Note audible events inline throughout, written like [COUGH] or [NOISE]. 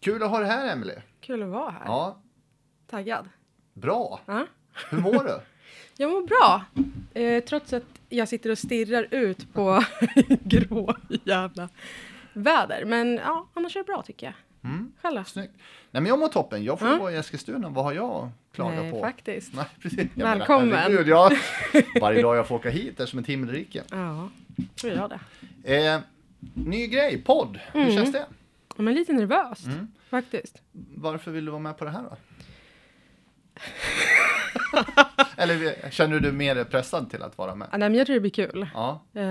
Kul att ha dig här, Emelie. Kul att vara här. Ja, Taggad. bra. Ja. Hur mår [LAUGHS] du? Jag mår bra. Eh, trots att jag sitter och stirrar ut på [LAUGHS] grå jävla väder. Men ja, annars är det bra tycker jag. Mm. Själv då? Snyggt. Nej, men jag mår toppen. Jag får Ja. vara i Eskilstuna. Vad har jag att klaga Nej, på? [LAUGHS] faktiskt. Nej, precis. Jag Välkommen. Menar, herregud, [LAUGHS] jag, varje dag jag får åka hit är som ett himmelrike. Ja, tror jag det. Eh, ny grej, podd. Mm. Hur känns det? Ja, Men lite nervöst Mm. faktiskt. Varför vill du vara med på det här [LAUGHS] då? Eller eh, känner du dig mer pressad till att vara med? Ja, nej, men jag tror det blir kul. Ja, Eh,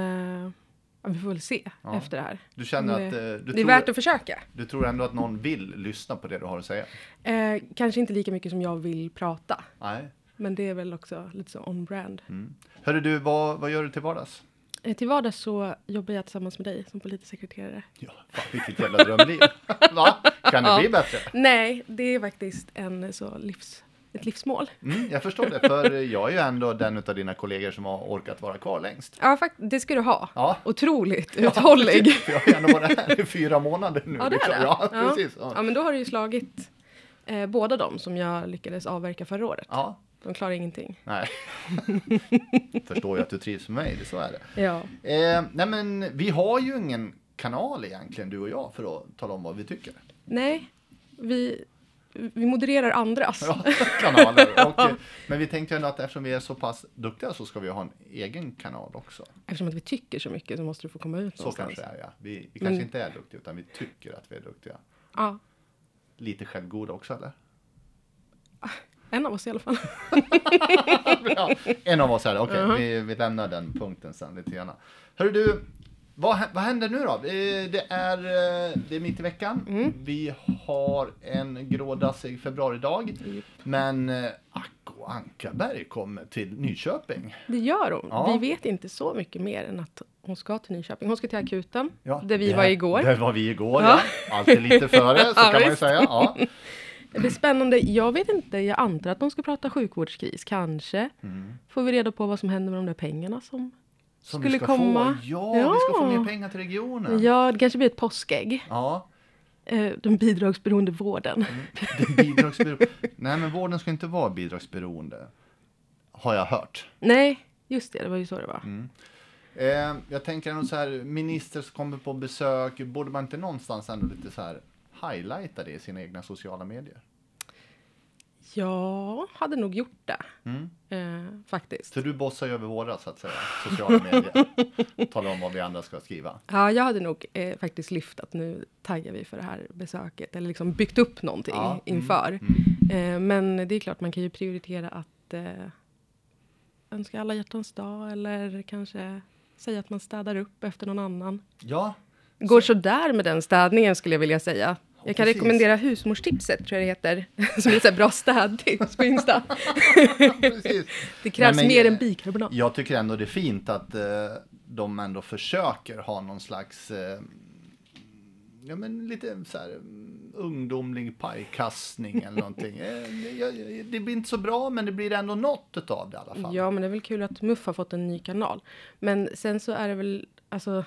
ja, vi får väl se Ja. efter det här. du känner Det- att eh, du, det är tror, värt att försöka. du tror ändå att någon vill lyssna på det du har att säga? Eh, kanske inte lika mycket som jag vill prata. Nej. Men det är väl också lite så on-brand. Mm. Hörru du, vad, vad gör du till vardags? Eh, till vardags så jobbar jag tillsammans med dig som politisk sekreterare. Ja, fan, vilket jävla drömliv. Va? Kan det Ja. bli bättre? Nej, det är faktiskt eh, en, så livs, ett livsmål. Mm, jag förstår det, för jag är ju ändå den av dina kollegor som har orkat vara kvar längst. Ja, fakt- det ska du ha. Ja. Otroligt uthållig. För jag har ju ändå varit här i fyra månader nu. Ja, det är liksom. det. Ja, precis. Ja. ja, men då har du ju slagit eh, båda de som jag lyckades avverka förra året. ja, De klarar ingenting. [LAUGHS] nej. Förstår ju att du trivs med mig, det så är det. Ja. Eh, nej men, vi har ju ingen kanal egentligen, du och jag, för att tala om vad vi tycker. Nej, vi, vi modererar andras. Ja, kanaler. Och, eh, [LAUGHS] men vi tänkte ändå att eftersom vi är så pass duktiga så ska vi ha en egen kanal också. Eftersom att vi tycker så mycket så måste du få komma ut Så någonstans. kanske det är, ja. Vi, vi kanske Mm. inte är duktiga, utan vi tycker att vi är duktiga. Ja, Lite självgoda också, [LAUGHS] eller? en av oss i [LAUGHS] alla fall. ja, en av oss är det. Okej, Uh-huh. vi, vi lämnar den punkten sen lite grann. Hörru du, vad, hä- vad händer nu då? Eh, Det är, eh, det är mitt i veckan. Mm. Vi har en grådassig februaridag. Men eh, Acko Ankarberg kommer till Nyköping. Det gör hon. Ja. Vi vet inte så mycket mer än att hon ska till Nyköping. Hon ska till akuten, Ja, där vi var igår. Där var vi igår, ja. Ja. Alltid lite [LAUGHS] före, så Ja, kan man ju visst. säga. Ja. Det blir spännande. Jag vet inte, jag antar att de ska prata sjukvårdskris, kanske. Får vi reda på vad som händer med de där pengarna som... Som Skulle vi ska komma. Få. Ja, vi ska få Ja. mer pengar till regionen. Ja, det kanske blir ett påskägg. Ja, Eh, Den bidragsberoende vården. det är bidragsberoende. [LAUGHS] Nej, men vården ska inte vara bidragsberoende. Har jag hört. [LAUGHS] Nej, just det, det var ju så det var. Eh, jag tänker ändå så här, minister som kommer på besök, borde man inte någonstans ändå lite så här highlighta det i sina egna sociala medier? Jag hade nog gjort det, Mm. eh, faktiskt. Så du bossar ju över våra så att säga, sociala medier. [LAUGHS] Talar om vad vi andra ska skriva. Ja, jag hade nog eh, faktiskt lyft att nu taggar vi för det här besöket, eller liksom byggt upp någonting Ja, mm, inför. Eh, men det är klart, man kan ju prioritera att eh, önska alla hjärtans dag, eller kanske säga att man städar upp efter någon annan. Ja, Går sådär med den städningen skulle jag vilja säga. Jag kan precis. rekommendera husmorstipset, tror jag det heter, [LAUGHS] som är ett så här bra städtips [LAUGHS] på Insta. precis. Det krävs Nej, men- mer än bikarbonat. Jag tycker ändå det är fint att eh, de ändå försöker ha någon slags eh, Ja men lite så här mm, ungdomlig pajkastning eller någonting. Eh, det- jag- Det blir inte så bra men det blir ändå något utav det i alla fall. Ja, men det är väl kul att Muff har fått en ny kanal. Men sen så är det väl, alltså,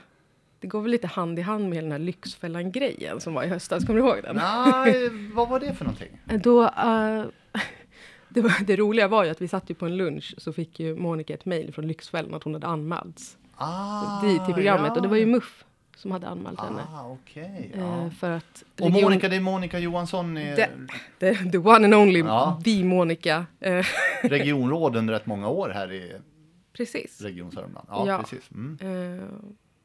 det går väl lite hand i hand med hela den här Lyxfällan-grejen som var i höstas, kommer du ihåg den? Nej, vad var det för någonting? Då, eh, [LAUGHS] det, var, det roliga var ju att vi satt ju på en lunch, så fick ju Monica ett mejl från Lyxfällan att hon hade anmälts Ah, dit till programmet. ja. Och det var ju Muff som hade anmält henne. Ah, okej. eh, ja. För att Och region- Monica, det är Monica Johansson, i Det- The, [LAUGHS] the one and only, Ja. the Monica. Eh, [LAUGHS] regionråd under rätt många år här i precis. Region Sörmland. Ja, Ja. precis. Mm. Eh,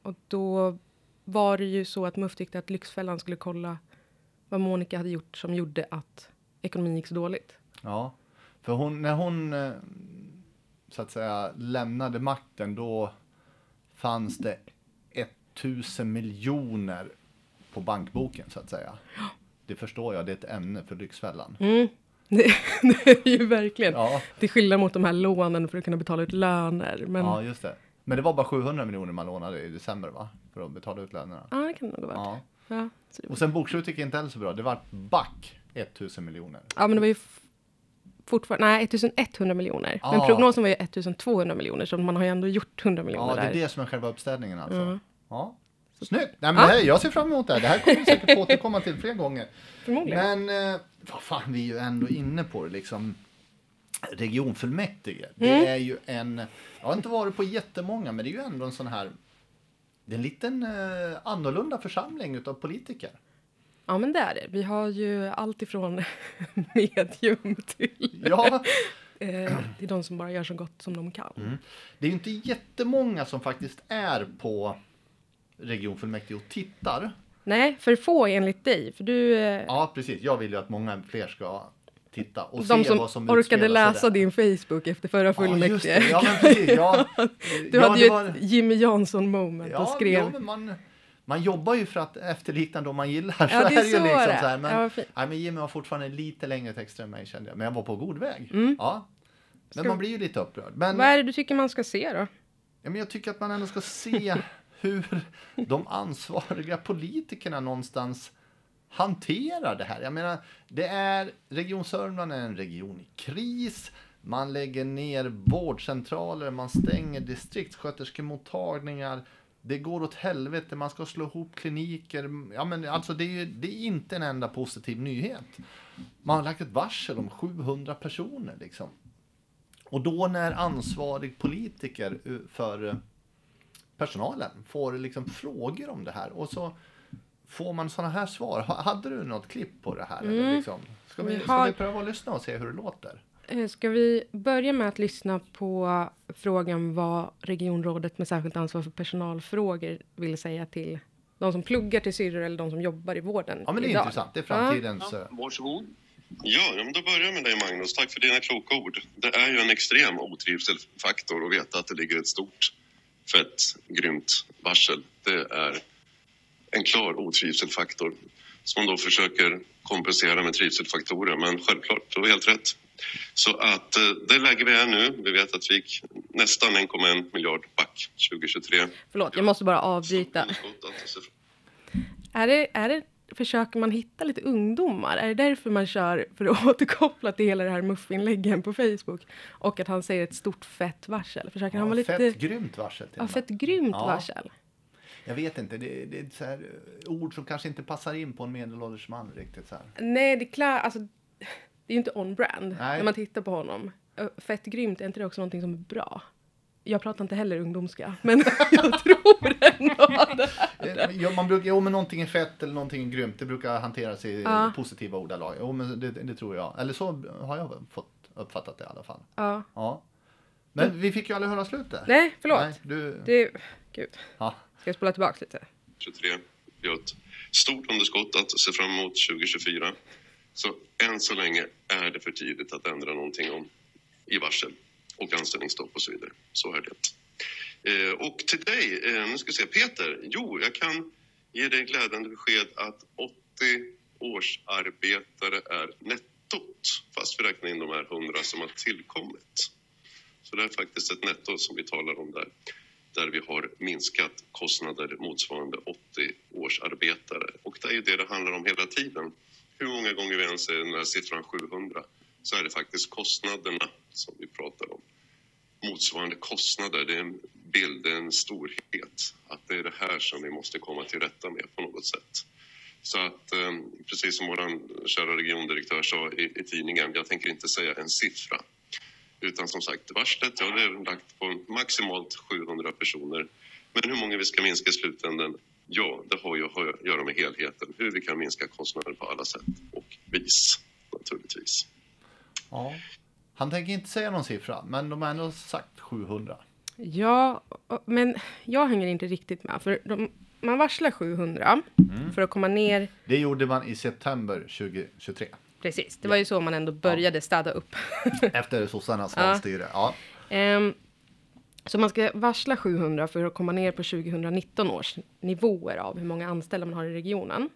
och då var det ju så att MUF tyckte att Lyxfällan skulle kolla vad Monica hade gjort som gjorde att ekonomin gick så dåligt. [LAUGHS] Ja, för hon, när hon eh, så att säga lämnade makten då fanns det 1000 miljoner på bankboken så att säga. Det förstår jag, det är ett ämne för Lyxfällan. Det, det är ju verkligen Ja, till skillnad mot de här lånen för att kunna betala ut löner. Men ja, ja, just det. Men det var bara 700 miljoner man lånade i december va? För att betala ut lönerna. ah, det kan det nog vara. Ja. Ja. Ja, så det, Och sen bokslutet gick inte heller så bra. Det var back 1000 miljoner. ja, men det var ju f- fortfarande, nej, 1100 miljoner. Ah. Men prognosen var ju 1200 miljoner, så man har ju ändå gjort 100 miljoner Ja, det är där. det som är själva uppställningen alltså. Ja, Mm. ja. Så Snyggt! Nej, men det här, jag ser fram emot det här. Det här kommer vi säkert få återkomma till fler gånger. Förmodligen. Men eh, vad fan, vi är ju ändå inne på det liksom. Regionfullmäktige, det är ju en, jag har inte varit på jättemånga, men det är ju ändå en sån här, det är en liten eh, annorlunda församling utav politiker. Ja, men det är det. Vi har ju allt ifrån [LAUGHS] medium till... Ja, Mm. Eh, det är de som bara gör så gott som de kan. det är ju inte jättemånga som faktiskt är på regionfullmäktige och tittar. Nej, för få enligt dig. För du, eh, Ja, precis, jag vill ju att många fler ska titta och de se som, vad som utspelar orkade sig läsa där. din Facebook efter förra Ja, just fullmäktige. det. Ja, men precis. Ja. [LAUGHS] Du ja, hade det ju var- ett Jimmy Jansson moment och ja, skrev. ja, men man, man jobbar ju för att efterlikna de man gillar. [LAUGHS] så Ja, det är ju liksom så det är. Så här, men, Ja, vad fint. nej, men Jimmy har fortfarande lite längre texter än mig kände jag. Men jag var på god väg. Ja. Men Mm. Ska- man blir ju lite upprörd. Men, Vad är det du tycker man ska se då? ja, men jag tycker att man ändå ska se hur de ansvariga politikerna någonstans hanterar det här. Jag menar, det är, Region Sörmland är en region i kris. Man lägger ner vårdcentraler, man stänger distriktssköterskemottagningar. Det går åt helvete, man ska slå ihop kliniker. Ja, men alltså det, är ju, det är inte en enda positiv nyhet. Man har lagt ett varsel om 700 personer. Liksom. Och då när ansvarig politiker eh, för eh, personalen får liksom frågor om det här och så får man sådana här svar. Ha- Hade du något klipp på det här? Eller liksom? ska, vi, Mm. Vi ska har- vi pröva att lyssna och se hur det låter? Eh, Ska vi börja med att lyssna på frågan vad regionrådet med särskilt ansvar för personalfrågor vill säga till de som pluggar till syrror eller de som jobbar i vården Ja men det är idag? intressant, det är framtidens... eh, Varsågod. Ja, ja, men då börjar jag med dig Magnus. Tack för dina kloka ord. Det är ju en extrem otrivselfaktor att veta att det ligger ett stort, fett, grymt varsel. Det är en klar otrivselfaktor som då försöker kompensera med trivselfaktorer. Men självklart, du har helt rätt. Så att eh, det läge vi är nu, vi vet att vi gick nästan 1,1 miljard back 2023. Förlåt, jag måste bara avbryta. Underskott att se fram- Är det, är det, försöker man hitta lite ungdomar? Är det därför man kör, för att [LAUGHS] återkoppla till hela det här muffinläggen på Facebook, och att han säger ett stort fett varsel? Försöker han Ja, vara lite... Fett grymt varsel till ja, och med. fett grymt Ja. varsel. Jag vet inte, det, det är så här, eh, ord som kanske inte passar in på en medelålders man riktigt. Så här. Nej, det är klart, alltså, det är ju inte on-brand Nej. när man tittar på honom. Ö, Fett grymt, är inte det också någonting som är bra? Jag pratar inte heller ungdomska, [LAUGHS] men jag tror ändå att det är. Eh, men, Ja, man brukar, jo men någonting är fett eller någonting är grymt, det brukar hanteras i eh, Ja. positiva ordalag. Jo men det, det tror jag. Eller så har jag fått uppfattat det i alla fall. Ja. Ja. Men vi fick ju aldrig höra slutet. Mm. Nej, förlåt. Nej, du... Det, gud, Ja. ska jag spola tillbaka lite? 23. Vi har ett stort underskott att se fram emot 2024. Så än så länge är det för tidigt att ändra någonting om i varsel och anställningsstopp och så vidare. Så är det. Eh, och till dig, eh, nu ska vi se, Peter. Jo, jag kan ge dig glädjande besked att 80 årsarbetare är nettot, fast vi räknar in de här 100 som har tillkommit. Så det är faktiskt ett netto som vi talar om där, där vi har minskat kostnader motsvarande 80 årsarbetare. Och det är ju det det handlar om hela tiden. Hur många gånger vi än säger den här siffran 700 så är det faktiskt kostnaderna som vi pratar om. Motsvarande kostnader, det är en bild, det är en storhet. Att det är det här som vi måste komma till rätta med på något sätt. Så att eh, precis som vår kära regiondirektör sa i, i tidningen, jag tänker inte säga en siffra. Utan som sagt, varslet ja, det är lagt på maximalt 700 personer. Men hur många vi ska minska i slutändan, ja, det har ju att göra med helheten. Hur vi kan minska kostnader på alla sätt och vis, naturligtvis. Ja. Han tänker inte säga någon siffra, men de har ändå sagt 700. Ja, och- men jag hänger inte riktigt med. För de, man varslar 700 för att komma ner Det gjorde man i september [LAUGHS] 2023. Precis, det var ju så man ändå började städa upp. [LAUGHS] Efter sossarnas vanstyre. Ja. Ehm, så man ska varsla 700 för att komma ner på 2019 års nivåer av hur många anställda man har i regionen.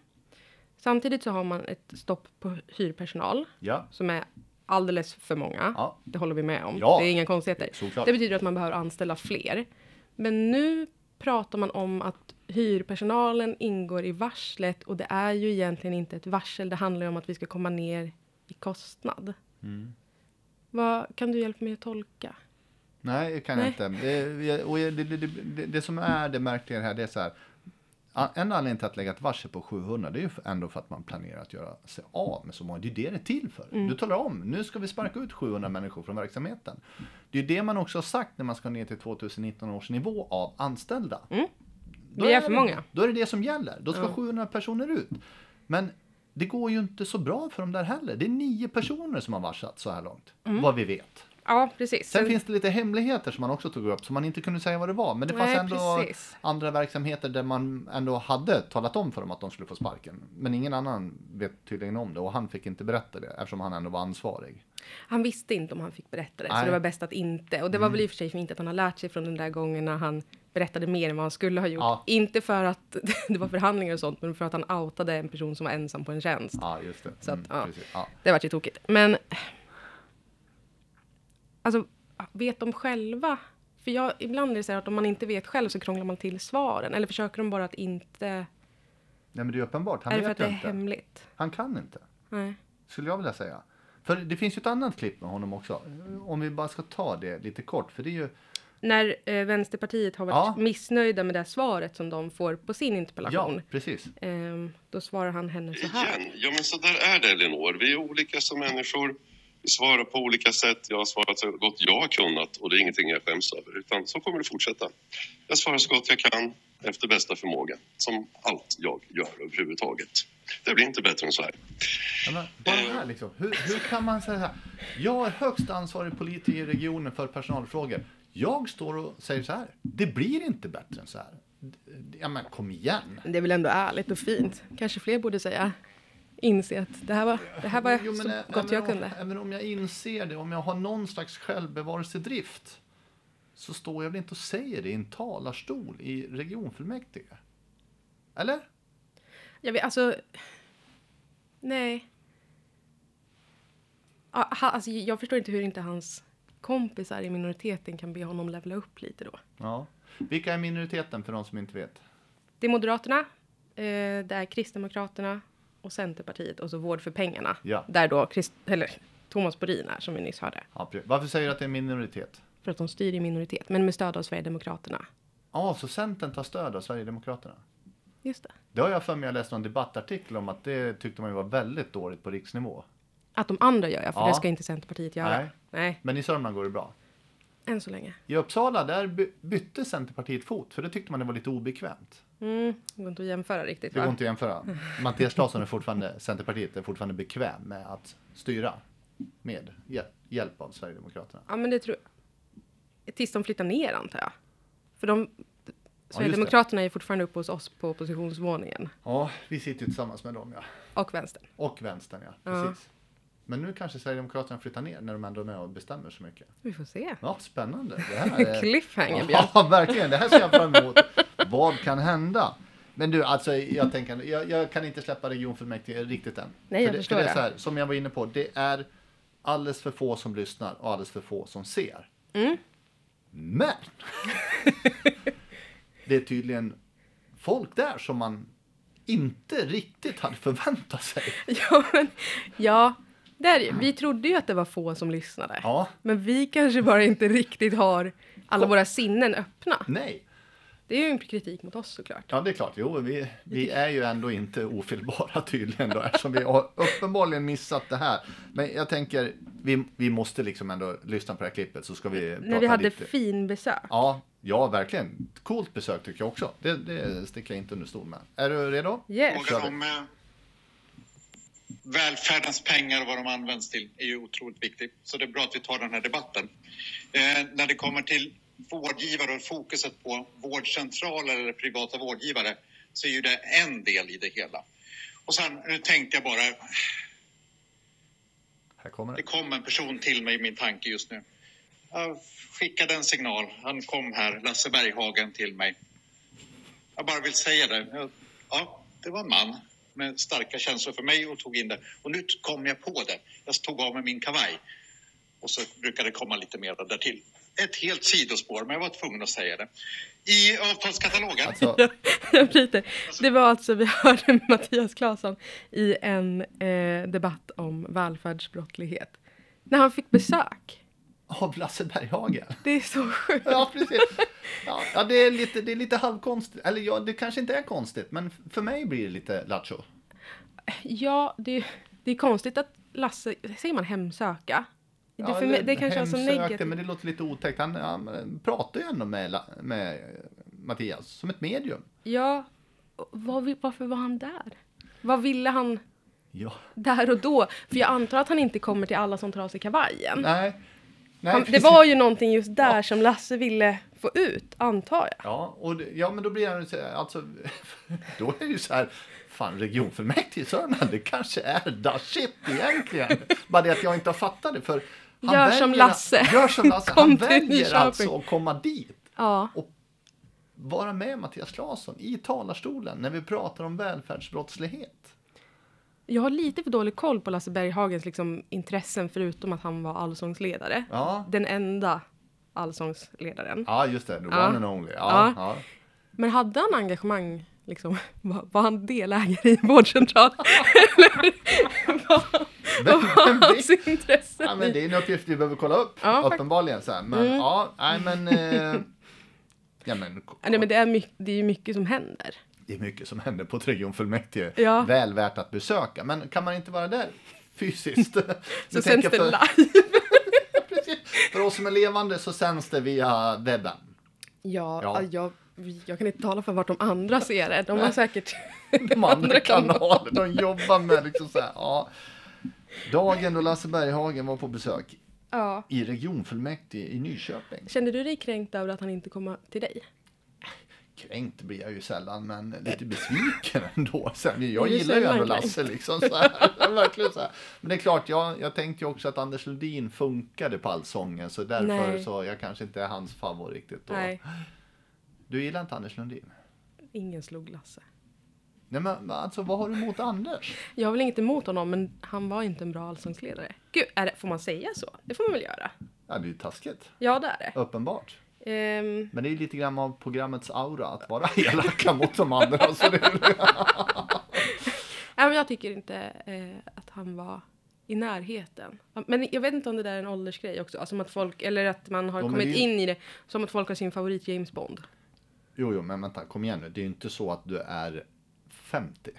Samtidigt så har man ett stopp på hyrpersonal Ja. som är alldeles för många. Ja. Det håller vi med om. Ja. Det är inga konstigheter. Såklart. Det betyder att man behöver anställa fler. Men nu pratar man om att hyrpersonalen ingår i varslet och det är ju egentligen inte ett varsel. Det handlar ju om att vi ska komma ner i kostnad. Mm. Vad kan du hjälpa mig att tolka? Nej, det kan jag Nej. inte. Det, och det, det, det, det som är det märkliga här, det är så här. a- en anledning till att lägga ett varsel på 700 det är ju ändå för att man planerar att göra sig av med så många. Det är ju det det är till för. Mm. Du talar om, nu ska vi sparka ut 700 människor från verksamheten. Det är ju det man också har sagt när man ska ner till 2019 års nivå av anställda. Då Mm. Vi är det- för många. Då är det det som gäller. Då ska 700 personer ut. Men det går ju inte så bra för dem där heller. Det är nio personer som har varslats så här långt. Mm. Vad vi vet. Ja, precis. Sen finns det lite hemligheter som man också tog upp som man inte kunde säga vad det var. Men det fanns Nej, ändå precis. andra verksamheter där man ändå hade talat om för dem att de skulle få sparken. Men ingen annan vet tydligen om det och han fick inte berätta det eftersom han ändå var ansvarig. Han visste inte om han fick berätta det, så Nej. Mm. det var bäst att inte. Och det var väl i och för sig fint att han har lärt sig från den där gången när han berättade mer än vad han skulle ha gjort. Ja. Inte för att [LAUGHS] det var förhandlingar och sånt, men för att han outade en person som var ensam på en tjänst. Ja, just det. Så att, ja. precis. Ja. Det vart ju tokigt. Men... Alltså, vet de själva? För jag, ibland är det så här att om man inte vet själv så krånglar man till svaren. Eller försöker de bara att inte... Nej, men det är uppenbart. Han är det för att vet det ju är inte. hemligt? Han kan inte. Nej. skulle jag vilja säga. För det finns ju ett annat klipp med honom också. Om vi bara ska ta det lite kort. För det är ju... När eh, Vänsterpartiet har varit Ja. missnöjda med det här svaret som de får på sin interpellation. Ja, precis. Ehm, då svarar han henne så här. Igen? Ja, men så där är det, Elinor. Vi är olika som människor. Vi svarar på olika sätt. Jag har svarat så gott jag har kunnat och det är ingenting jag skäms över, utan så kommer det fortsätta. Jag svarar så gott jag kan efter bästa förmåga, som allt jag gör överhuvudtaget. Det blir inte bättre än så här. Ja, men bara det här liksom. Hur, hur kan man säga så här? Jag är högst ansvarig politiker i regionen för personalfrågor. Jag står och säger så här. Det blir inte bättre än så här. Ja, men kom igen. Det är väl ändå ärligt och fint. Kanske fler borde säga. Inse att det här var, det här var Jo, men, så ä- gott även jag om- kunde. Även om jag inser det, om jag har någon slags självbevarelsedrift så står jag väl inte och säger det i en talarstol i regionfullmäktige? Eller? Jag vet, alltså... Nej. Ja, ha- Alltså, jag förstår inte hur inte hans kompisar i minoriteten kan be honom levla upp lite då. Ja. Vilka är minoriteten för de som inte vet? Det är Moderaterna, eh, det är Kristdemokraterna och Centerpartiet och så Vård för pengarna. Ja. Där då Christ, eller, Thomas Borin är, som vi nyss hörde. Ja, pre- Varför säger du att det är minoritet? För att de styr i minoritet, men med stöd av Sverigedemokraterna. Ja, så Centern tar stöd av Sverigedemokraterna. Just det. Det har jag för mig, jag läste någon debattartikel om att det tyckte man ju var väldigt dåligt på riksnivå. Att de andra gör jag, för Ja. det ska inte Centerpartiet göra. Nej. Nej. Men i Sörmland går det bra. än så länge. I Uppsala, där by- bytte Centerpartiet fot, för det tyckte man det var lite obekvämt. Mm, det går inte att jämföra riktigt. Det går Va? inte att jämföra. Mattias Claesson är fortfarande, Centerpartiet är fortfarande bekväm med att styra med hjäl- hjälp av Sverigedemokraterna. Ja, men det tror jag. Tills de flyttar ner, antar jag. För de... det. Sverigedemokraterna är fortfarande uppe hos oss på oppositionsvåningen. Ja, vi sitter ju tillsammans med dem ja. Och vänstern. Och vänstern ja, precis. Men nu kanske Sverigedemokraterna flyttar ner när de ändå är med och bestämmer så mycket. Vi får se. [LAUGHS] Ja, spännande. Det [LAUGHS] här är... Cliffhanger, Björn. [LAUGHS] Ja, verkligen. Det här ser jag fram emot. Vad kan hända? Men du, alltså jag tänker, jag, jag kan inte släppa regionfullmäktige riktigt än. Nej, jag för det, förstår för det. Är så det. här, som jag var inne på, det är alldeles för få som lyssnar och alldeles för få som ser. Mm. Men! det är tydligen folk där som man inte riktigt hade förväntat sig. Ja, men, ja där, vi trodde ju att det var få som lyssnade. Ja. Men vi kanske bara inte riktigt har alla våra sinnen öppna. Nej. Det är ju en kritik mot oss såklart. Ja, det är klart. Jo, vi, vi är ju ändå inte ofelbara tydligen då, eftersom vi har uppenbarligen missat det här. Men jag tänker, vi, vi måste liksom ändå lyssna på det här klippet så ska vi prata När vi hade lite. fin besök. Ja, ja, verkligen. Coolt besök tycker jag också. Det, det sticker jag inte under stol med. Är du redo? Yes. Kör Frågan vi. om eh, välfärdens pengar och vad de används till är ju otroligt viktig. Så det är bra att vi tar den här debatten. Eh, när det kommer till vårdgivare och fokuset på vårdcentraler eller privata vårdgivare så är ju det en del i det hela. Och sen, nu tänkte jag bara, Här kommer [LAUGHS] det det. kom en person till mig i min tanke just nu. Jag skickade en signal. Han kom här, Lasse Berghagen, till mig. Jag bara vill säga det. Jag- Ja, det var en man med starka känslor för mig och tog in det. Och nu kom jag på det. Jag tog av mig min kavaj. Och så brukar det komma lite mer därtill. Ett helt sidospår, men jag var tvungen att säga det. I avtalskatalogen... Alltså, [LAUGHS] Jag bryter. Det var alltså, vi hörde [LAUGHS] Mattias Claesson i en eh, debatt om välfärdsbrottslighet. När han fick besök. av Lasse Berghagen. [LAUGHS] Det är så sjukt. Ja, precis. Ja, ja, det, är lite, det är lite halvkonstigt. Eller ja, det kanske inte är konstigt, men för mig blir det lite lattjo. Ja, det, det är konstigt att Lasse, säger man hemsöka? Det, Ja, för mig, det kanske var så hemsökte, negativt. Men det låter lite otäckt. Han, han pratar ju ändå med, La- med eh, Mattias som ett medium. Ja, och vad, vi- varför var han där? Vad ville han Ja. där och då? För jag antar att han inte kommer till alla som tar av sig kavajen. Nej. Nej Han, det precis. var ju någonting just där som Lasse ville få ut, antar jag. Ja, och det, ja, men då blir han ju så här, alltså, [LAUGHS] då är det ju så här, fan regionfullmäktige i Sörmland, det kanske är da shit egentligen. Bara det att jag inte har fattat det, för Gör som Lasse. Gör som Lasse, Kom han till väljer Nyköping. alltså att komma dit Ja, och vara med Mattias Claesson i talarstolen när vi pratar om välfärdsbrottslighet. jag har lite för dålig koll på Lasse Berghagens liksom, intressen förutom att han var allsångsledare. Ja, Den enda allsångsledaren. ja just det, the Ja. one and only. Ja. Ja, ja. Men hade han engagemang? Liksom, [LAUGHS] var, var han delägare i [LAUGHS] vårdcentral? Eller vad vad vem var hans vet? intresse? Ja, men det är en uppgift vi behöver kolla upp, Ja, Mm. fakt- uppenbarligen. Så här. Men ja, nej men... Eh, ja, men Nej, men det är, mycket, det är ju mycket som händer. Det är mycket som händer på ett regionfullmäktige. Ja. Väl värt att besöka. Men kan man inte vara där [LAUGHS] fysiskt? Så Nu sänds tänker det jag för, live. [LAUGHS] Precis. för oss som är levande så sänds det via [LAUGHS] webben. [LAUGHS] Ja, alltså, Ja. Jag, jag kan inte tala för vart de andra ser det. De [LAUGHS] har säkert... De andra kanaler, de jobbar med liksom så här, ja. Dagen då Lasse Berghagen var på besök Ja. i regionfullmäktige i Nyköping. Kände du dig kränkt över att han inte kom till dig? Kränkt blir jag ju sällan, men lite besviken ändå. Sen, jag Du är gillar ju ändå sällan kränkt. Lasse liksom. Så här, [LAUGHS] verkligen så här. Men det är klart, jag, jag tänkte ju också att Anders Lundin funkade på Allsången, så därför Nej. så jag kanske inte är hans favorit riktigt. Och, Nej. Du gillar inte Anders Lundin? Ingen slog Lasse. Nej men alltså, vad har du emot Anders? Jag har väl inget emot honom, men han var inte en bra allsångsledare. Gud, är det, får man säga så? Det får man väl göra? Ja, det är ju taskigt. Ja, det är det. Uppenbart. Ehm, Men det är ju lite grann av programmets aura att vara [LAUGHS] elaka mot de andra. Så det är, Nej, men jag tycker inte eh, att han var i närheten. Men jag vet inte om det där är en åldersgrej också. Alltså att folk, eller att man har Ja, men kommit det är ju- in i det. Som att folk har sin favorit James Bond. jo, jo, men vänta, kom igen nu. Det är ju inte så att du är 50.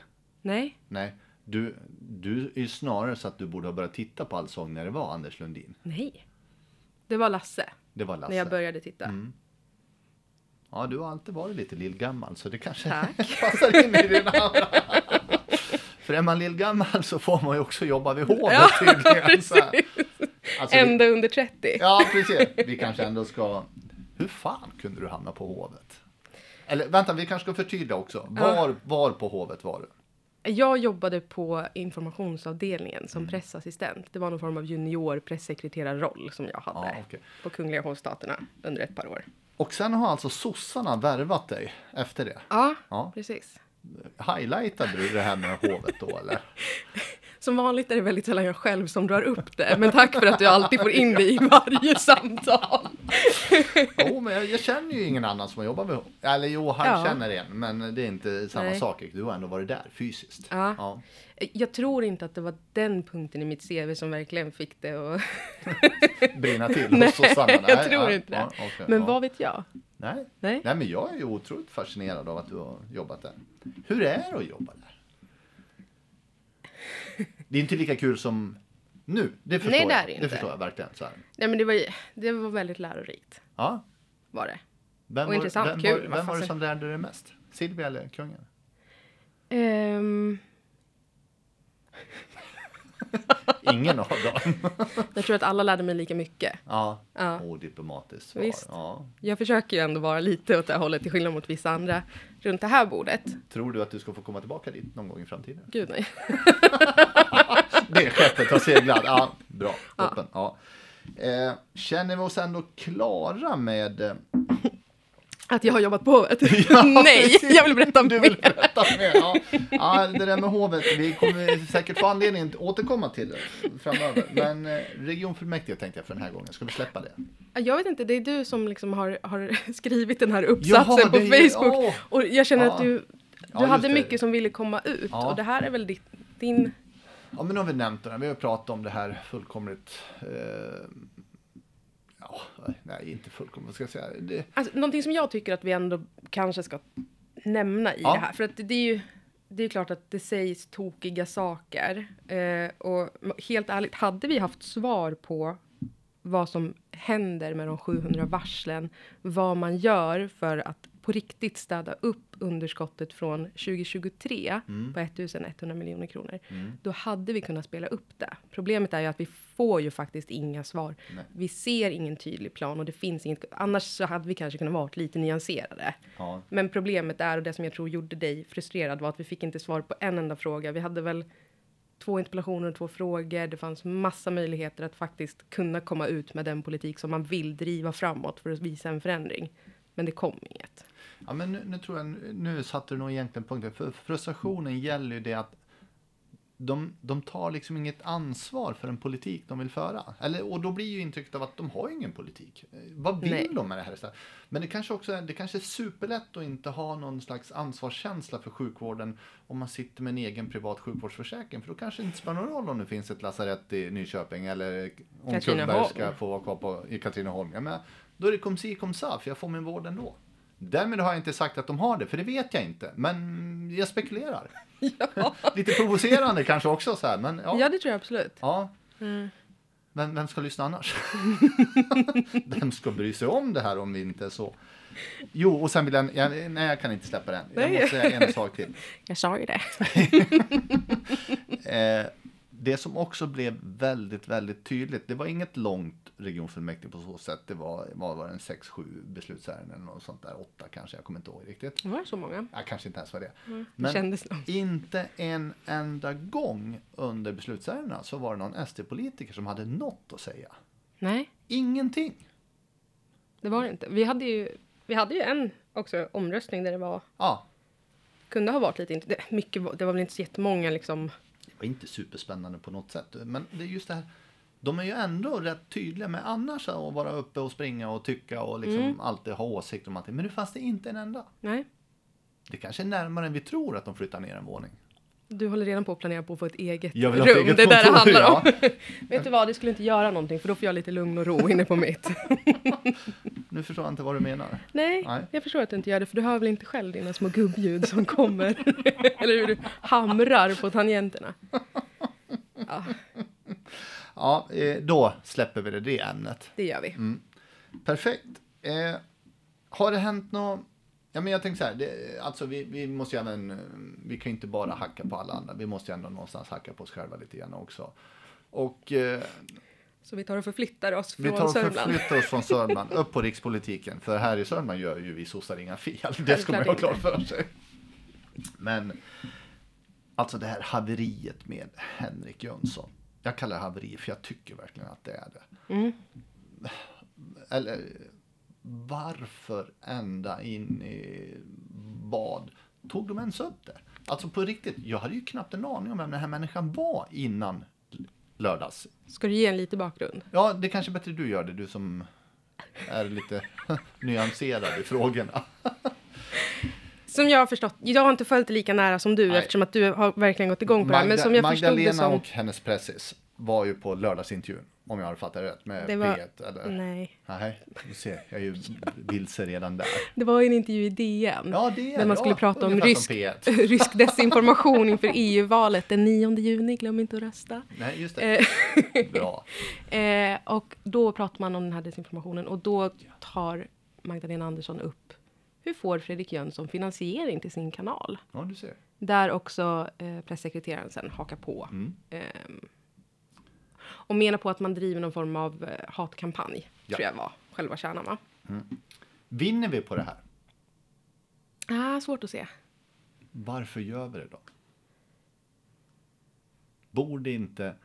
Nej. Nej, du, du är ju snarare så att du borde ha börjat titta på Allsång när det var Anders Lundin. Nej. Det var Lasse, Det var Lasse. Mm. när jag började titta. Ja, du har alltid varit lite lillgammal så det kanske [LAUGHS] Tack. passar in i din aura. För är man lillgammal så får man ju också jobba vid hovet [LAUGHS] Ja, tydligen. Så här. precis. Alltså, vi, Ända under 30. ja, precis. Vi kanske ändå ska... Hur fan kunde du hamna på hovet? Eller vänta, vi kanske ska förtydliga också. Var, var på hovet var du? Jag jobbade på informationsavdelningen som Mm. pressassistent. Det var någon form av junior pressekreterarroll som jag hade Ja, okej. på Kungliga Hovstaterna under ett par år. Och sen har alltså sossarna värvat dig efter det. Ja, Ja. precis. Highlightade du det här med hovet då eller? Som vanligt är det väldigt sällan jag själv som drar upp det, men tack för att du alltid får in det i varje [LAUGHS] samtal. Jo, men jag, jag känner ju ingen annan som har jobbat med honom. Eller jo, han Ja. känner en, men det är inte samma Nej. sak. Du har ändå varit där fysiskt. Ja. Ja. Jag tror inte att det var den punkten i mitt CV som verkligen fick det att... Brinna [LAUGHS] till Nej, hos sossarna. jag tror nej, inte det. ja, okej, Men ja. vad vet jag? Nej. Nej. Nej. men jag är ju otroligt fascinerad av att du har jobbat där. Hur är det att jobba där? Det är inte lika kul som nu. Det förstår Nej, det är jag. det Det, inte. förstår jag verkligen. Så här. Nej, men det var, ju- det var väldigt lärorikt, Ja. var det. Vem, Och var, intressant, vem, kul, var, vad vem var det fasen. som lärde dig mest? Silvia eller kungen? Ehm, Ingen av dem. jag tror att alla lärde mig lika mycket. Ja. [LAUGHS] Ja. Odiplomatiskt svar. Visst. Ja. Jag försöker ju ändå vara lite åt det här hållet till skillnad mot vissa andra runt det här bordet. Tror du att du ska få komma tillbaka dit någon gång i framtiden? [LAUGHS] Gud nej. Det skeppet har seglat. Ja, bra. Toppen. Ja. Eh, känner vi oss ändå klara med... eh, Att jag har jobbat på hovet? [LAUGHS] Ja, [LAUGHS] nej, precis. jag vill berätta Du mer. vill berätta mer. Ja. ja, det där med hovet. Vi kommer säkert få anledning att återkomma till det framöver. Men eh, regionfullmäktige tänkte jag för den här gången. Ska vi släppa det? Jag vet inte, det är du som liksom har, har [LAUGHS] skrivit den här uppsatsen Jaha, på det är- Facebook. åh. Och jag känner Ja. att du, Ja, du just hade det. mycket som ville komma ut. Ja. Och det här är väl ditt, din... Ja, men nu har vi nämnt det. här. Vi har pratat om det här fullkomligt eh, Ja, nej, inte fullkomligt. Vad ska jag säga? Det, Alltså, någonting som jag tycker att vi ändå kanske ska nämna i Ja. det här. För att det är ju det är klart att det sägs tokiga saker. Eh, och helt ärligt, hade vi haft svar på vad som händer med de 700 varslen, vad man gör för att på riktigt städa upp underskottet från 2023 på 1100 miljoner kronor. Då hade vi kunnat spela upp det. Problemet är ju att vi får ju faktiskt inga svar. Vi ser ingen tydlig plan och det finns inget. Annars så hade vi kanske kunnat vara lite nyanserade. ja. Men problemet är, och det som jag tror gjorde dig frustrerad, var att vi fick inte svar på en enda fråga. Vi hade väl två interpellationer och två frågor. Det fanns massa möjligheter att faktiskt kunna komma ut med den politik som man vill driva framåt för att visa en förändring. Men det kom inget. Ja, men nu, nu tror jag, nu satte du nog egentligen punkten. För frustrationen gäller ju det att de, de tar liksom inget ansvar för en politik de vill föra. Eller, och då blir ju intrycket av att de har ju ingen politik. Eh, Vad vill Nej. de med det här istället? Men det kanske också är, det kanske är superlätt att inte ha någon slags ansvarskänsla för sjukvården om man sitter med en egen privat sjukvårdsförsäkring. För då kanske det inte spelar någon roll om det finns ett lasarett i Nyköping eller om Katrineholm. Kullberg ska få vara kvar på, i Katrineholm. Ja, men då är det kom si kom sa, för jag får min vård ändå. Därmed har jag inte sagt att de har det, för det vet jag inte. Men jag spekulerar. Lite provocerande kanske också så här, men ja. Ja, Mm. det tror jag absolut. ja. Vem, vem ska lyssna annars? [LAUGHS] vem ska bry sig om det här om vi inte är så? Jo, och sen vill jag, jag nej jag kan inte släppa den. Jag Nej. måste säga en sak till. Jag sa ju det. Eh, det som också blev väldigt, väldigt tydligt, det var inget långt regionfullmäktige på så sätt. Det var, vad var det, en 6-7 beslutsärenden eller något sånt där, 8 kanske, jag kommer inte ihåg riktigt. Var det så många? Ja, kanske inte ens var det. Mm, Det kändes så. inte en enda gång under beslutsärendena så var det någon SD-politiker som hade något att säga. Nej, Ingenting. det var det inte. Vi hade ju, vi hade ju en också omröstning där det var, Ja, kunde ha varit lite, int- det, mycket, var- det var väl inte så jättemånga liksom. det var inte superspännande på något sätt. Men det är just det här, de är ju ändå rätt tydliga med annars att vara uppe och springa och tycka och liksom alltid ha åsikter om allting. Men nu fanns det inte en enda. Nej, Det kanske är närmare än vi tror att de flyttar ner en våning. Du håller redan på att planera på att få ett eget Jag vill ha rum. ett eget det är där det kontor, handlar om. [LAUGHS] Vet du vad, det skulle inte göra någonting för då får jag lite lugn och ro inne [LAUGHS] på mitt. Nu förstår jag inte vad du menar. Nej, Nej. jag förstår att du inte gör det för du hör väl inte själv dina små gubbljud som kommer. [LAUGHS] Eller hur du hamrar på tangenterna. Ja, Ja, eh, då släpper vi det, det ämnet. det gör vi. Mm. Perfekt. Eh, har det hänt något? Ja, men jag tänkte så här, det, alltså vi, vi måste ju även, eh, vi kan ju inte bara hacka på alla andra, vi måste ju ändå någonstans hacka på oss själva lite grann också. Och eh, Så vi tar och förflyttar oss vi från tar och Sörmland. förflyttar oss från Sörmland upp på rikspolitiken, för här i Sörmland gör ju vi sossar inga fel, det ska man ju ha klart för sig. Men alltså det här haveriet med Henrik Jönsson. Jag kallar det haveri för jag tycker verkligen att det är det. Mm. Eller varför ända in i bad tog de ens upp det? Alltså på riktigt, jag hade ju knappt en aning om vem den här människan var innan lördags. Ska du ge en lite bakgrund? Ja, det kanske är bättre du gör det, du som är lite [LAUGHS] nyanserad i frågorna. Som jag har förstått, jag har inte följt det lika nära som du Nej. eftersom att du har verkligen gått igång på det här. Men som jag förstod Magdalena det som... och hennes pressis var ju på lördagsintervjun, om jag har fattat rätt, med Det var- P1 eller? Nej. Nej, du ser, jag är ju vilse redan [LAUGHS] där. Det var ju en intervju i DN. Ja, det är där man det. skulle Ja, prata om ungefär som rysk, P1. [LAUGHS] rysk desinformation inför EU-valet den 9 juni. Glöm inte att rösta. Nej, just det. Eh, Bra. eh, och då pratar man om den här desinformationen och då tar Magdalena Andersson upp hur får Fredrik Jönsson finansiering till sin kanal? Ja, du ser. Där också eh, pressekreteraren sen hakar på. Mm. Ehm, och menar på att man driver någon form av eh, hatkampanj, Ja. tror jag var själva kärnan va? Vinner vi på det här? Ah, svårt att se. Varför gör vi det då? Borde inte...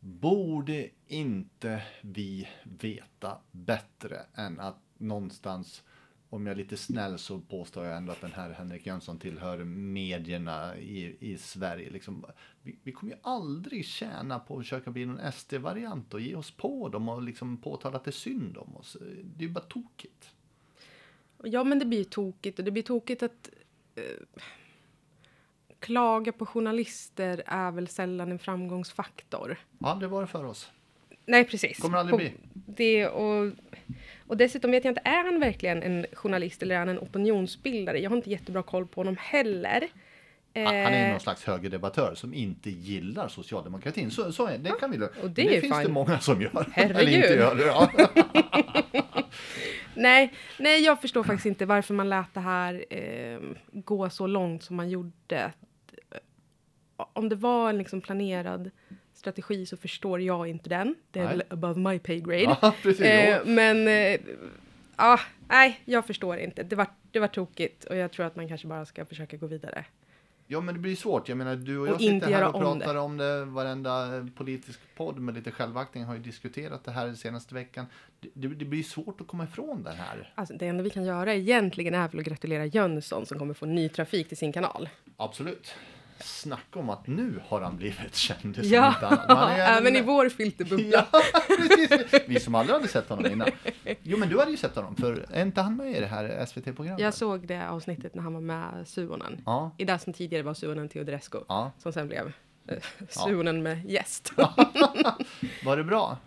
Borde inte vi veta bättre än att någonstans, om jag är lite snäll så påstår jag ändå att den här Henrik Jönsson tillhör medierna i, i Sverige. Liksom, vi, vi kommer ju aldrig tjäna på att försöka bli någon SD-variant och ge oss på dem och liksom påtala att det är synd om oss. Det är ju bara tokigt. Ja, men det blir ju tokigt och det blir tokigt att eh, klaga på journalister är väl sällan en framgångsfaktor. Har aldrig varit för oss. Nej, precis. Kommer aldrig bli. Det och, och dessutom vet jag inte, är han verkligen en journalist eller är han en opinionsbildare? Jag har inte jättebra koll på honom heller. Han han är Eh, någon slags högerdebattör som inte gillar socialdemokratin. Så, så är det, kan vi och det är ju finns fine. det många som gör. Eller Herregud. inte gör det. [LAUGHS] Ja. Nej, nej, jag förstår faktiskt inte varför man lät det här eh, gå så långt som man gjorde. Eh, Om det var en liksom planerad strategi så förstår jag inte den. Det är Nej. väl above my pay grade. Ja, [LAUGHS] precis. Jo. eh, men, eh, ja, nej, jag förstår inte. Det var, det var tokigt och jag tror att man kanske bara ska försöka gå vidare. Ja men det blir svårt. Jag menar du och jag Och inte sitter här göra och om pratar om det. Varenda eh, politisk podd med lite självaktning har ju diskuterat det här den senaste veckan. Det, det det blir svårt att komma ifrån det här. Alltså, det enda vi kan göra egentligen är väl att gratulera Jönsson som kommer få ny trafik till sin kanal. Absolut. Snacka om att nu har han blivit kändis. om [LAUGHS] Ja, inte annat. Man är ju även i en- vår filterbubbla. Ja, precis. Vi som aldrig hade sett honom innan. Jo men du hade ju sett honom. För är inte han med i det här SVT-programmet? Jag såg det avsnittet när han var med Suonen. Ja. I det som tidigare var Suonen Teodorescu. Ja. Som sen blev eh, Suonen med gäst. Var det bra?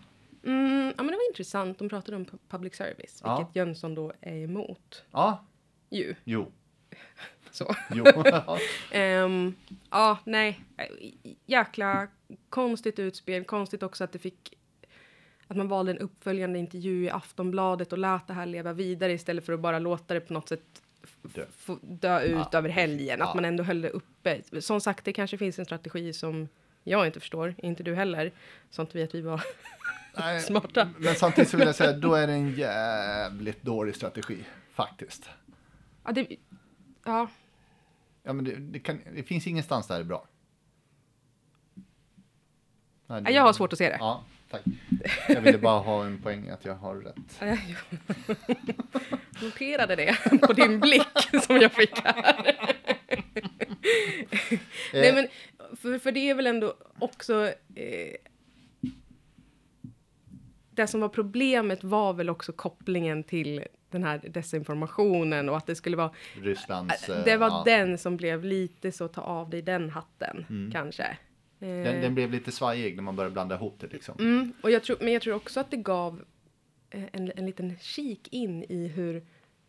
Mm, ja, men det var intressant. De pratade om pu- public service, Ja. vilket Jönsson då är emot. Ja, Ju. jo. Så. [LAUGHS] jo. Ehm, ja, nej. Jäkla konstigt utspel. Konstigt också att det fick att man valde en uppföljande intervju i Aftonbladet och lät det här leva vidare istället för att bara låta det på något sätt f- Dö. få dö ut Ja, över helgen. Att Ja. man ändå höll det uppe. Som sagt, det kanske finns en strategi som jag inte förstår, inte du heller. Sånt vet vi var Nej, smarta. Men samtidigt så vill jag säga, då är det en jävligt dålig strategi. Faktiskt. Ja, det, ja, [LAUGHS] Ja, men det, det, kan, det finns ingenstans där det är bra. Nej, det- jag har svårt att se det. Ja, tack. Jag ville bara ha en poäng att jag har rätt. Jag noterade det på din blick som jag fick här. Eh. Nej, men för, för det är väl ändå också... Eh, det som var problemet var väl också kopplingen till den här desinformationen och att det skulle vara... Rysslands... eh, Det var ja. den som blev lite så, ta av dig den hatten, Mm. kanske. Eh, den. Den blev lite svajig när man började blanda ihop det liksom. Mm, och jag tror, men jag tror också att det gav eh, en, en liten kik in i hur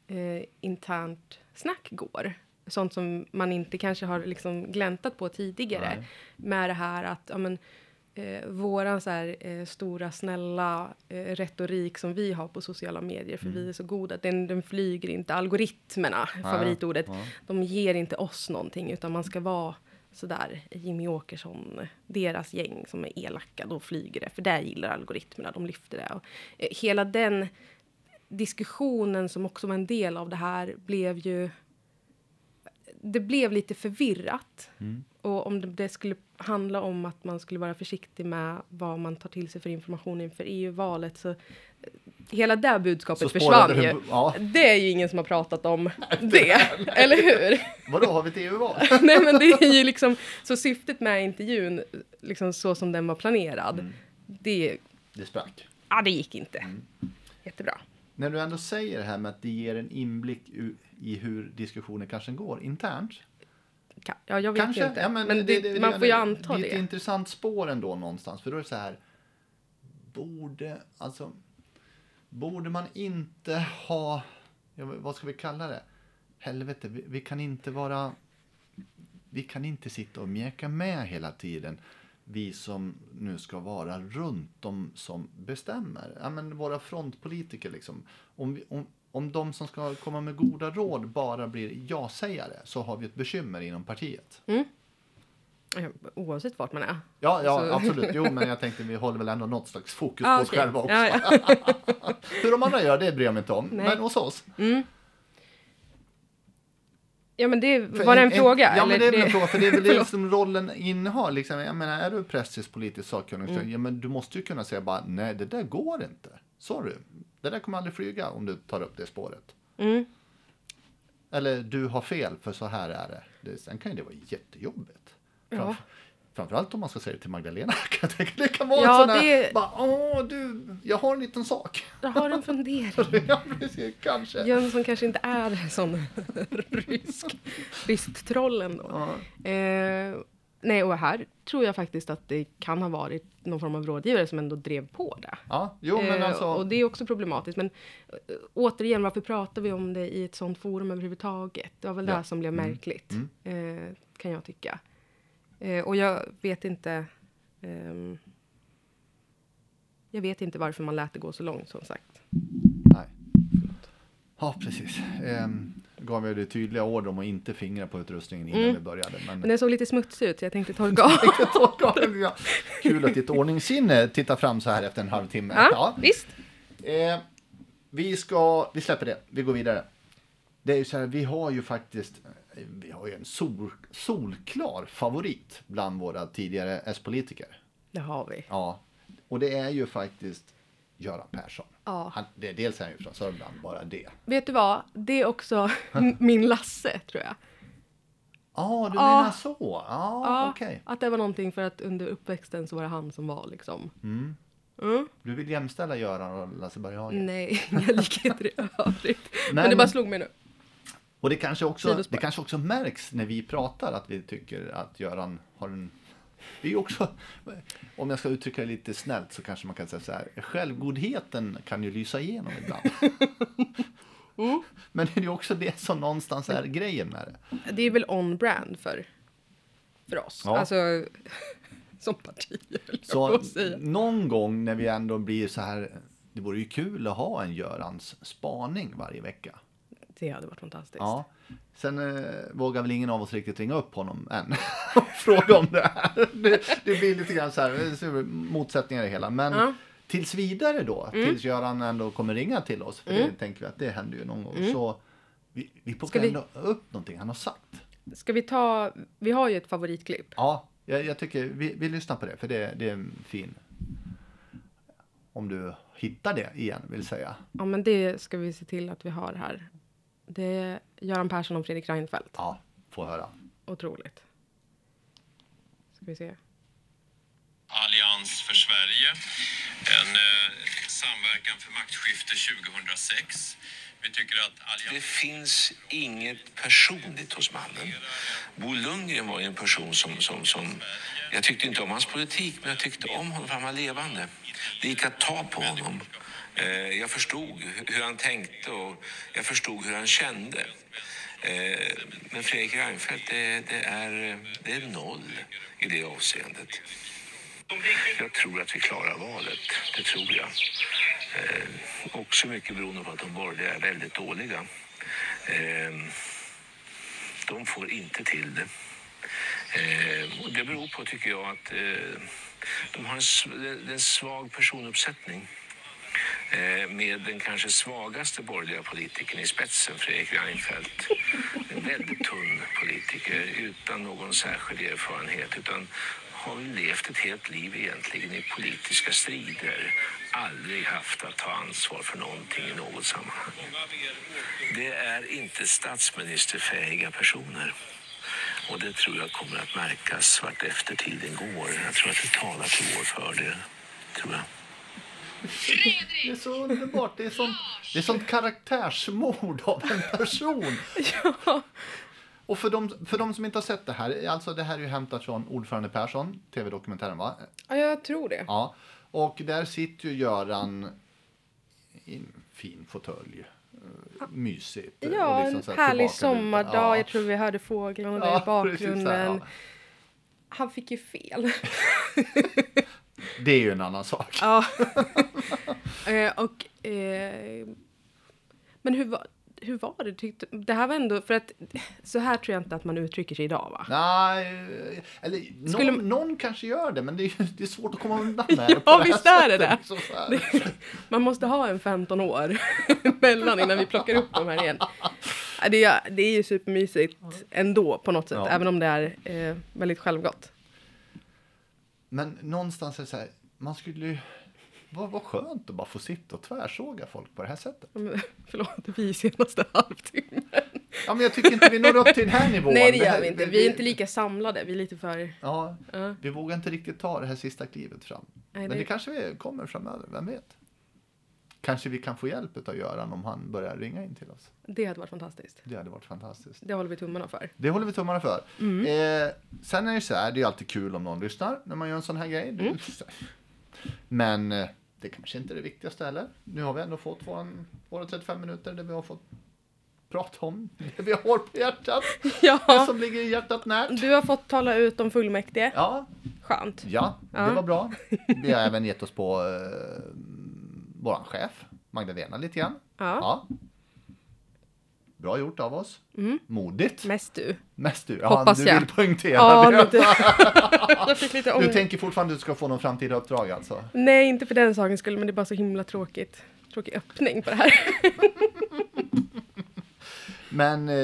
eh, internt snack går. Sånt som man inte kanske har liksom gläntat på tidigare. Nej. Med det här att ja, men, eh, våran så här, eh, stora snälla eh, retorik som vi har på sociala medier, för vi är så goda, den, den flyger inte. Algoritmerna, favoritordet, ja. de ger inte oss någonting utan man ska vara sådär Jimmy Åkesson, deras gäng som är elaka, då flyger det. För där gillar algoritmerna, de lyfter det. Och, eh, hela den diskussionen som också var en del av det här blev ju... Det blev lite förvirrat. Mm. Och om det, det skulle handla om att man skulle vara försiktig med vad man tar till sig för information inför EU-valet så eh, hela det budskapet Så spårade försvann det- ju. ja. Det är ju ingen som har [LAUGHS] pratat om det, [LAUGHS] eller hur? [LAUGHS] Vadå, har vi ett EU-val? Nej men det är ju liksom, så syftet med intervjun, liksom så som den var planerad, Mm. det, Det sprack. ja det gick inte. Mm. Jättebra. När du ändå säger det här med att det ger en inblick u- i hur diskussioner kanske går internt. Ka- Ja, jag vet Kanske. inte. Ja, men men det, det- det- man det- får ju anta Det är ett det. intressant spår ändå någonstans. För då är det så här. Borde, alltså. Borde man inte ha, ja, vad ska vi kalla det? Helvete, vi, vi kan inte vara, vi kan inte sitta och mjäka med hela tiden. Vi som nu ska vara runt de som bestämmer. Ja, men våra frontpolitiker liksom. Om, vi, om, om de som ska komma med goda råd bara blir ja-sägare så har vi ett bekymmer inom partiet. Ja, Oavsett vart man är. Ja, ja Så- absolut. Jo, men jag tänkte vi håller väl ändå något slags fokus Ja, på oss okej. själva också. Ja, ja. [LAUGHS] Hur de andra gör, det bryr jag mig inte om. Nej. Men hos oss. ja men det, För var det en, fråga? Ja, men det är väl en det- fråga. För det är väl det [LAUGHS] Förlåt. som rollen innehar. Liksom. Jag menar, är du prästis politiskt sakkunnig, Mm. så- ja, men du måste ju kunna säga bara, nej, det där går inte. Sorry, det där kommer aldrig flyga om du tar upp det spåret. Mm. Eller, du har fel, för så här är det. det sen kan ju det vara jättejobbigt. Framf- Framförallt om man ska säga det till Magdalena. [LAUGHS] kan jag tänka. Det kan vara Ja, en sån här, det- bara, åh du, jag har en liten sak. [LAUGHS] Jag har en fundering. Ja, precis. Kanske. Jönsson kanske inte [LAUGHS] är en sån rysk, ryskt troll ändå. Ja. Eh, Nej, och här tror jag faktiskt att det kan ha varit någon form av rådgivare som ändå drev på det. Ja, jo men Eh, alltså. Och det är också problematiskt. Men eh, återigen, varför pratar vi om det i ett sånt forum överhuvudtaget? Det var väl Ja. Mm. det som blev märkligt, eh, kan jag tycka. Eh, och jag vet inte... ehm, jag vet inte varför man lät det gå så långt, som sagt. Nej. Ja, precis. Ehm, gav jag dig tydliga order om att inte fingra på utrustningen Mm. innan vi började. Men... [LAUGHS] Men den såg lite smutsig ut, så jag tänkte torka av. Ja. Kul att ditt ordningssinne tittar fram så här efter en halvtimme. ja, Ja. visst. Eh, vi ska, vi släpper det, vi går vidare. Det är ju så här, vi har ju faktiskt, eh, vi har ju en sol, solklar favorit bland våra tidigare S-politiker. Det har vi. Ja, och det är ju faktiskt Göran Persson. Ja. Han, det, dels är han ju från Sörmland, bara det. Vet du vad? Det är också [LAUGHS] min Lasse, tror jag. Ja, du Ja. menar så? Ja, Ja, okej. Att det var någonting för att under uppväxten så var det han som var liksom. Mm. Du vill jämställa Göran och Lasse Berghagen? Nej, [LAUGHS] inga likheter i övrigt. men det men- bara slog mig nu. Och det kanske, också, Sidospår. det kanske också märks när vi pratar att vi tycker att Göran har en... Vi är också, om jag ska uttrycka det lite snällt så kanske man kan säga så här. Självgodheten kan ju lysa igenom ibland. [LAUGHS] Mm. Men det är ju också det som någonstans är grejen med det. Det är väl on-brand för, för oss. Ja. Alltså, [LAUGHS] som parti, höll jag på Så att säga. någon gång när vi ändå blir så här. Det vore ju kul att ha en Görans spaning varje vecka. Det hade varit fantastiskt. Ja. Sen eh, vågar väl ingen av oss riktigt ringa upp honom än [LAUGHS] och fråga om det här. Det, det blir lite grann så här, eh, så motsättningar i det hela. Men Ja. tills vidare då, tills Göran ändå kommer ringa till oss, för det tänker vi att det händer ju någon gång. Så vi, vi Ska plockar vi- ändå upp någonting han har sagt. Ska vi ta, vi har ju ett favoritklipp. Ja, jag, jag tycker vi, vi lyssnar på det, för det, det är en fin... Om du hittar det igen, vill säga. Ja, men det ska vi se till att vi har här. Det är Göran Persson och Fredrik Reinfeldt. Ja, få höra. Otroligt. Ska vi se. Allians för Sverige. En eh, samverkan för maktskifte 2006. Vi tycker att Det allians... finns inget personligt hos mannen. Bo Lundgren var ju en person som, som, som... Jag tyckte inte om hans politik, men jag tyckte om honom för han var levande. Det gick att ta på honom. Eh, Jag förstod hur han tänkte och jag förstod hur han kände. Eh, Men Fredrik Reinfeldt, det, det, är, det är noll i det avseendet. Jag tror att vi klarar valet, det tror jag. Eh, också mycket beroende på att de borgerliga är väldigt dåliga. Eh, de får inte till det. Eh, och det beror på, tycker jag, att eh, de har en, sv- det- det är en svag personuppsättning. Eh, med den kanske svagaste borgerliga politikern i spetsen, Fredrik Reinfeldt. En väldigt tunn politiker utan någon särskild erfarenhet utan har väl levt ett helt liv egentligen i politiska strider. Aldrig haft att ta ansvar för någonting i något sammanhang. Det är inte statsministerfähiga personer. Och det tror jag kommer att märkas vart efter tiden går. Jag tror att det talar till vår fördel, tror jag. Det är så underbart. Det är sånt, det är sånt karaktärsmord av en [LAUGHS] person. Och för de, för de som inte har sett det här, alltså det här är ju hämtat från Ordförande Persson, tv-dokumentären va? Ja, jag tror det. Ja. Och där sitter ju Göran i en fin fåtölj. Eh, Mysigt. liksom Ja, en så här härlig tillbakalutad. sommardag. Ja. Jag tror vi hörde fåglarna där Ja, i precis bakgrunden. så här, ja. Han fick ju fel. Det är ju en annan sak. ja. [LAUGHS] Eh, och... Eh, men hur var, hur var det? Tyckte, det här var ändå... För att så här tror jag inte att man uttrycker sig idag, va? [LAUGHS] Nej, eller någon, Skulle- någon kanske gör det, men det är, ju- det är svårt att komma [LAUGHS] undan med det Ja, på här visst är det sättet, det. liksom så här. Man måste ha en 15 år [LAUGHS] emellan innan vi plockar upp dem här igen. Ja, Det är, det är ju supermysigt ändå på något sätt, Ja. även om det är eh, väldigt självgott. Men någonstans är det så här, man skulle ju... Vad, vad skönt att bara få sitta och tvärsåga folk på det här sättet. Men, [LAUGHS] Förlåt, vi är senaste [LAUGHS] halvtimmen. Ja, men jag tycker inte vi når upp till den här nivån. Nej, det här- gör vi inte. Vi är inte lika samlade. Vi är lite för... Ja, Ja. vi vågar inte riktigt ta det här sista klivet fram. Nej, men det- det kanske vi kommer framöver, vem vet? Kanske vi kan få hjälp av Göran om han börjar ringa in till oss. Det hade varit fantastiskt. Det hade varit fantastiskt. Det håller vi tummarna för. Det håller vi tummarna för. Mm. Eh, sen är det ju så här, det är ju alltid kul om någon lyssnar när man gör en sån här grej. Mm. Det är ju så här. Men eh, det kanske inte är det viktigaste heller. Nu har vi ändå fått våran, våra 35 minuter där vi har fått prata om det vi har på hjärtat. [LAUGHS] Ja. Det som ligger i hjärtat närt. Du har fått tala ut om fullmäktige. Ja, Skönt. ja, det Ja. var [LAUGHS] bra. Vi har även gett oss på eh, våran chef, Magdalena, lite grann. Ja. Ja. Bra gjort av oss. Modigt. Mest du. Mest du. Ja, Mm. Hoppas du jag. vill poängtera Ja, det. lite. Jag fick lite Du ångest. tänker fortfarande att du ska få någon framtida uppdrag alltså? Nej, inte för den sakens skull, men det är bara så himla tråkigt. Tråkig öppning på det här. Men eh,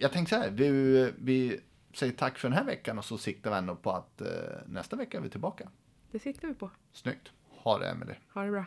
jag tänker så här, vi, vi säger tack för den här veckan och så siktar vi ändå på att eh, nästa vecka är vi tillbaka. Det siktar vi på. Snyggt. Ha det Emelie. Ha det bra.